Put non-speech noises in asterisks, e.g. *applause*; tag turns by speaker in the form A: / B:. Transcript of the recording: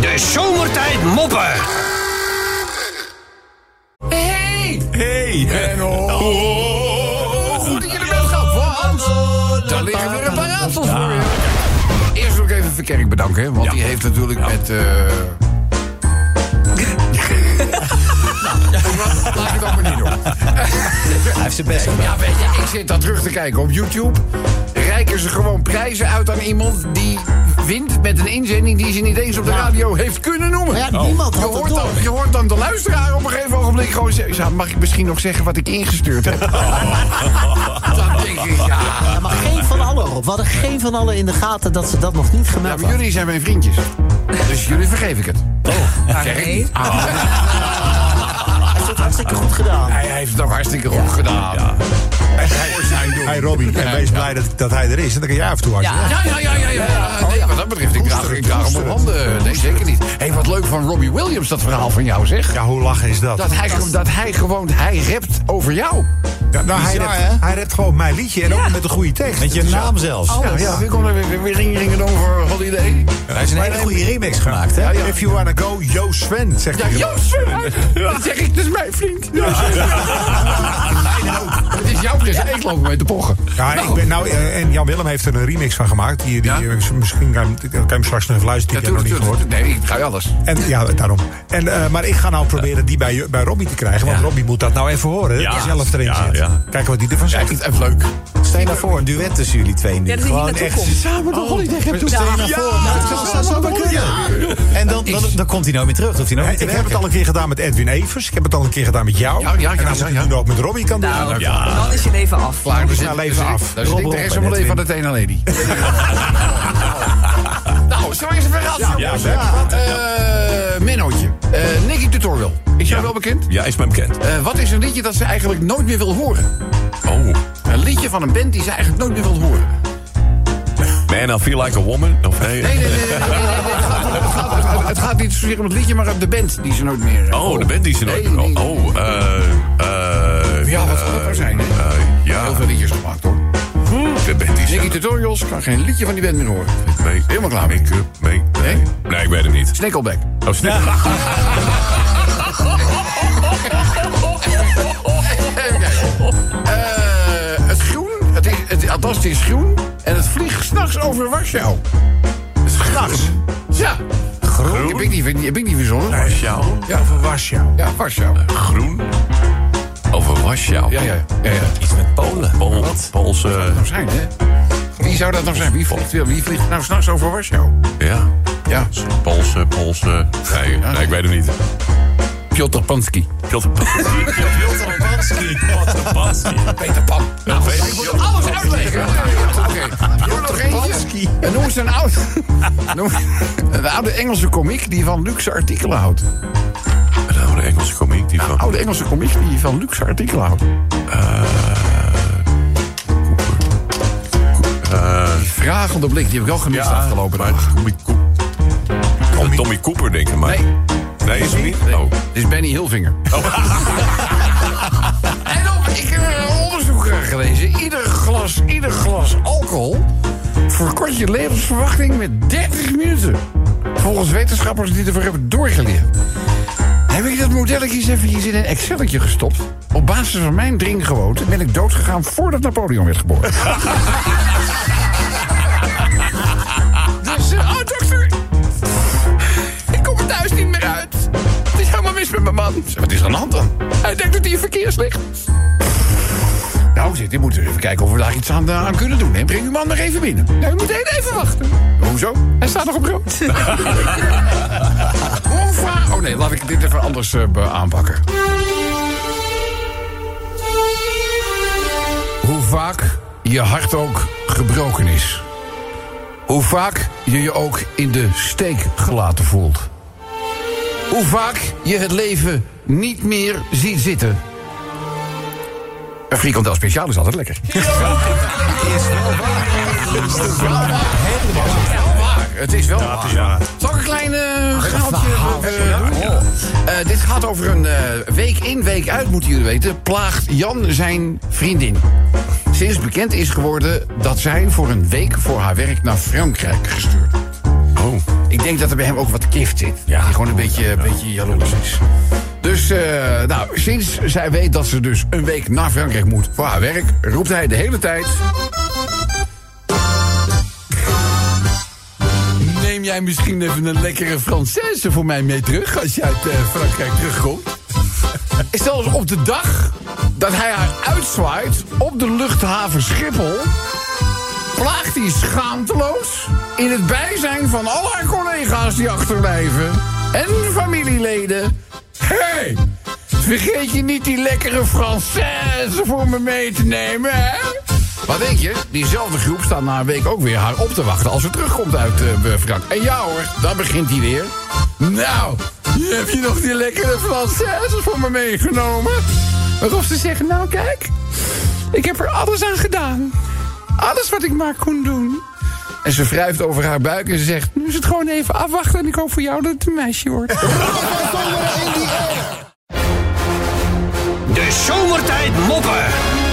A: De zomertijd moppen.
B: Hey! Oh,
A: Hey.
C: En oh,
B: Goed dat je er bent, Gap. Want daar liggen weer een paar raadsels voor je.
C: Eerst ook even Verkerk bedanken, hè, want die heeft natuurlijk met... eh *laughs* Nou, laat ik het allemaal niet doen.
D: Hij heeft zijn best gedaan.
C: Ja, weet je, ik zit dat terug te kijken op YouTube. Reiken ze gewoon prijzen uit aan iemand die wint met een inzending die ze niet eens op de radio heeft kunnen noemen.
D: Maar ja,
E: Oh.
D: niemand
C: Je
D: had het
C: hoort,
D: door.
C: dan, je hoort dan de luisteraar op een gegeven ogenblik gewoon zeggen... oh, "Ja, mag ik misschien nog zeggen wat ik ingestuurd heb? Dan denk ik, ja...
D: Ja, maar geen van allen, Rob. We hadden geen van allen in de gaten dat ze dat nog niet
C: Ja,
D: gemeld
C: maar
D: hadden.
C: jullie zijn mijn vriendjes. Dus jullie vergeef ik het. Oh, zeg ik niet. Ah,
D: Hij heeft het hartstikke goed gedaan.
C: hij heeft het ook hartstikke goed gedaan.
E: Hey Robby,
D: *laughs*
E: en wees blij dat, dat hij er is. En dan kan jij af en toe hard.
B: Ja.
C: Ja, ja, ja, ja. ja. Nee, wat dat betreft, ik draag, ik draag hem op handen. Nee, zeker niet. Hé, hey, wat leuk van Robbie Williams, dat verhaal van jou, zeg.
E: Ja, hoe lachen is dat?
C: Dat hij, gewoon- dat hij gewoon, hij rapt over jou.
E: Ja, nou, hij,
D: Bizar,
E: redt,
D: hè?
E: hij redt gewoon mijn liedje en ook met een goede tekst.
D: Met je
E: Dus ja,
D: naam zelfs.
C: Ja, ja, weer komen er weer, weer ringringen over Holiday.
D: Hij heeft een hele goede remix gemaakt, hè?
C: ja.
E: If you wanna go, yo Sven, zegt
C: Ja,
E: hij.
C: Joost, dat zeg ik, dat is mijn vriend. Joost. Het is jouw pres, ik loop mee te pochen.
E: Ja, ik ben nou, eh, en Jan Willem heeft er een remix van gemaakt. Die, die,
C: Ja?
E: eh, Misschien kan je, hem- kan je hem straks nog even luisteren. Die heb ik
C: Natuurlijk,
E: nog niet
C: natuurlijk.
E: gehoord.
C: Nee, ik ga je alles.
E: En, ja, daarom. En, eh, maar ik ga nou proberen die bij, je- bij Robbie te krijgen. Want Robbie moet dat nou even horen. Ja.
F: Ja.
E: Zelf erin
F: Ja,
E: zit.
F: ja.
E: Kijken wat hij ervan
C: Ja, ik
E: zegt.
C: vind het echt leuk.
D: Stel je nou voor, een duet tussen jullie twee nu.
B: Ja, dat is
D: Gewoon
B: niet
D: echt...
B: naartoe komt.
C: Samen de Holiday gaan
D: Stel je nou voor, nou, het zou- zou zo maar kunnen. En dan, dan, dan komt hij nou weer terug. Hoeft hij nou
E: Ja,
D: niet te
E: ik heb het
D: werken.
E: al een keer gedaan met Edwin Evers. Ik heb het al een keer gedaan met jou.
C: Ja, ja, ja,
E: en als ik
C: ja,
E: het
C: ja.
E: nu ook met Robbie kan doen.
B: Nou,
F: Ja.
B: dan is je leven af.
C: Klaar, we
E: Nou,
C: zitten
E: leven
C: daar
E: af.
C: zit- Daar zit ik
D: Rob,
C: de
D: Rob,
C: rest van mijn
D: Edwin.
C: leven aan het een aan lady. Nou, zo is het weer af.
F: ja,
C: jongens.
F: zeker.
C: Eh, Minnootje. Eh, Nicky Tutorial. Is jou wel bekend?
F: Ja, is mij bekend.
C: Eh, wat is een liedje dat ze eigenlijk nooit meer wil horen?
F: Oh.
C: Een liedje van een band die ze eigenlijk nooit meer wil horen.
F: Man, I feel like a woman. Of
C: Nee,
F: nee?
C: nee, nee. nee, nee, nee, nee, nee. Het, gaat, om- het gaat- het gaat- het gaat niet zozeer om het liedje, maar om de band die ze nooit meer... eh,
F: Oh, de band die ze nooit
C: Nee, nee,
F: meer...
C: nee.
F: Oh, eh... eh,
C: Ja, wat kan er zijn, hè?
F: eh, ja,
C: Heel veel liedjes gemaakt, hoor.
F: de band die ze...
C: Nicky Tutorials kan geen liedje van die band meer horen.
F: Nee,
C: Helemaal klaar mee.
F: Make-up, nee, nee. Nee, ik weet het niet. *laughs*
C: Snickelback.
F: Oh, snap. Ja.
C: Even kijken. Eh, het groen, het is, het, althans het is groen. En het vliegt s'nachts over Warschau. S'nachts? Ja. Groen? Heb ik niet, heb ik- heb ik niet verzonnen.
F: Warschau?
C: Ja,
E: Over Warschau.
C: ja, Warschau.
F: Groen? Over Warschau?
C: Ja, ja, ja. ja.
F: Iets met Polen. Pol, Poolse...
C: Nou zijn, hè? Wie zou dat nou zijn? Wie vliegt, wie vliegt nou s'nachts over Warschau?
F: Ja.
C: Ja,
F: Poolse, Poolse... Nee, nee, ik weet het niet.
C: Piotr Pansky.
F: Piotr
C: *laughs*
F: Pansky. Piotr Pansky. Piotr Pansky.
C: Peter Pan. Nou,
F: weet ik
C: ik moet alles uitleggen. Oké. Pansky. En noem eens een oude... *laughs* noem- Een oude Engelse komiek die van luxe artikelen houdt.
F: Een oude Engelse komiek die van...
C: Oude Engelse komiek die van luxe artikelen houdt. Eh, Die Eh, vragende blik, die heb ik wel gemist afgelopen
F: maar
C: dag.
F: Tommy Cooper. Tommy Cooper, denk ik maar.
C: Nee.
F: Nee, is het niet? Oh.
C: Dit is Dus Benny Hilvinger. en op, ik heb een onderzoek eh, gelezen. Ieder glas, ieder glas alcohol verkort je levensverwachting met 30 minuten. Volgens wetenschappers die ervoor hebben doorgeleerd. Heb ik dat modelletje eens eventjes in een Excelletje gestopt. Op basis van mijn drinkgewoonte ben ik doodgegaan voordat Napoleon werd geboren. dus, eh, oh dokter, ik kom er thuis niet meer uit. Het is helemaal mis met mijn man. Zeg, Wat is er aan de hand dan? Hij denkt dat hij in verkeers ligt. Nou, zit, dit moeten we even kijken of we daar iets aan, eh, aan kunnen doen. hè. breng uw man nog even binnen. Nee, we moeten heel even wachten. Hoezo? Hij staat nog op *laughs* rood. Onvraag. Oh nee, laat ik dit even anders eh, be- aanpakken. Hoe vaak je hart ook gebroken is. Hoe vaak je je ook in de steek gelaten voelt. Hoe vaak je het leven niet meer ziet zitten. Een frikandel speciaal is altijd lekker. Is wel waar. Het is wel waar. Het is wel waar. Zal ik een klein eh, gaaltje... eh, doen?
F: nou
C: Eh, dit gaat over een eh, week in, week uit, moeten jullie weten... plaagt Jan zijn vriendin. Sinds bekend is geworden dat zij voor een week voor haar werk naar Frankrijk gestuurd wordt.
F: Oh.
C: Ik Ik denk dat er bij hem ook wat kift zit.
F: Ja.
C: Die gewoon een beetje, een beetje jaloers is. Dus, eh, nou, sinds zij weet dat ze dus een week naar Frankrijk moet voor haar werk, roept hij de hele tijd. Neem jij misschien even een lekkere Française voor mij mee terug als je uit eh, Frankrijk terugkomt? Is zelfs op de dag dat hij haar uitzwaait op de luchthaven Schiphol. plaagt hij schaamteloos in het bijzijn van al haar collega's die achterblijven en familieleden. Hé, hey, vergeet je niet die lekkere Française voor me mee te nemen, hè? Wat denk je? Diezelfde groep staat na een week ook weer haar op te wachten als ze terugkomt uit eh Frankrijk. En ja hoor, daar begint hij weer. Nou, heb je nog die lekkere Française voor me meegenomen? Waarop ze zeggen, nou kijk, ik heb er alles aan gedaan. Alles wat ik maar kon doen. En ze wrijft over haar buik en ze zegt... nu is het gewoon even afwachten en ik hoop voor jou dat het een meisje wordt.
A: De zomertijd moppen.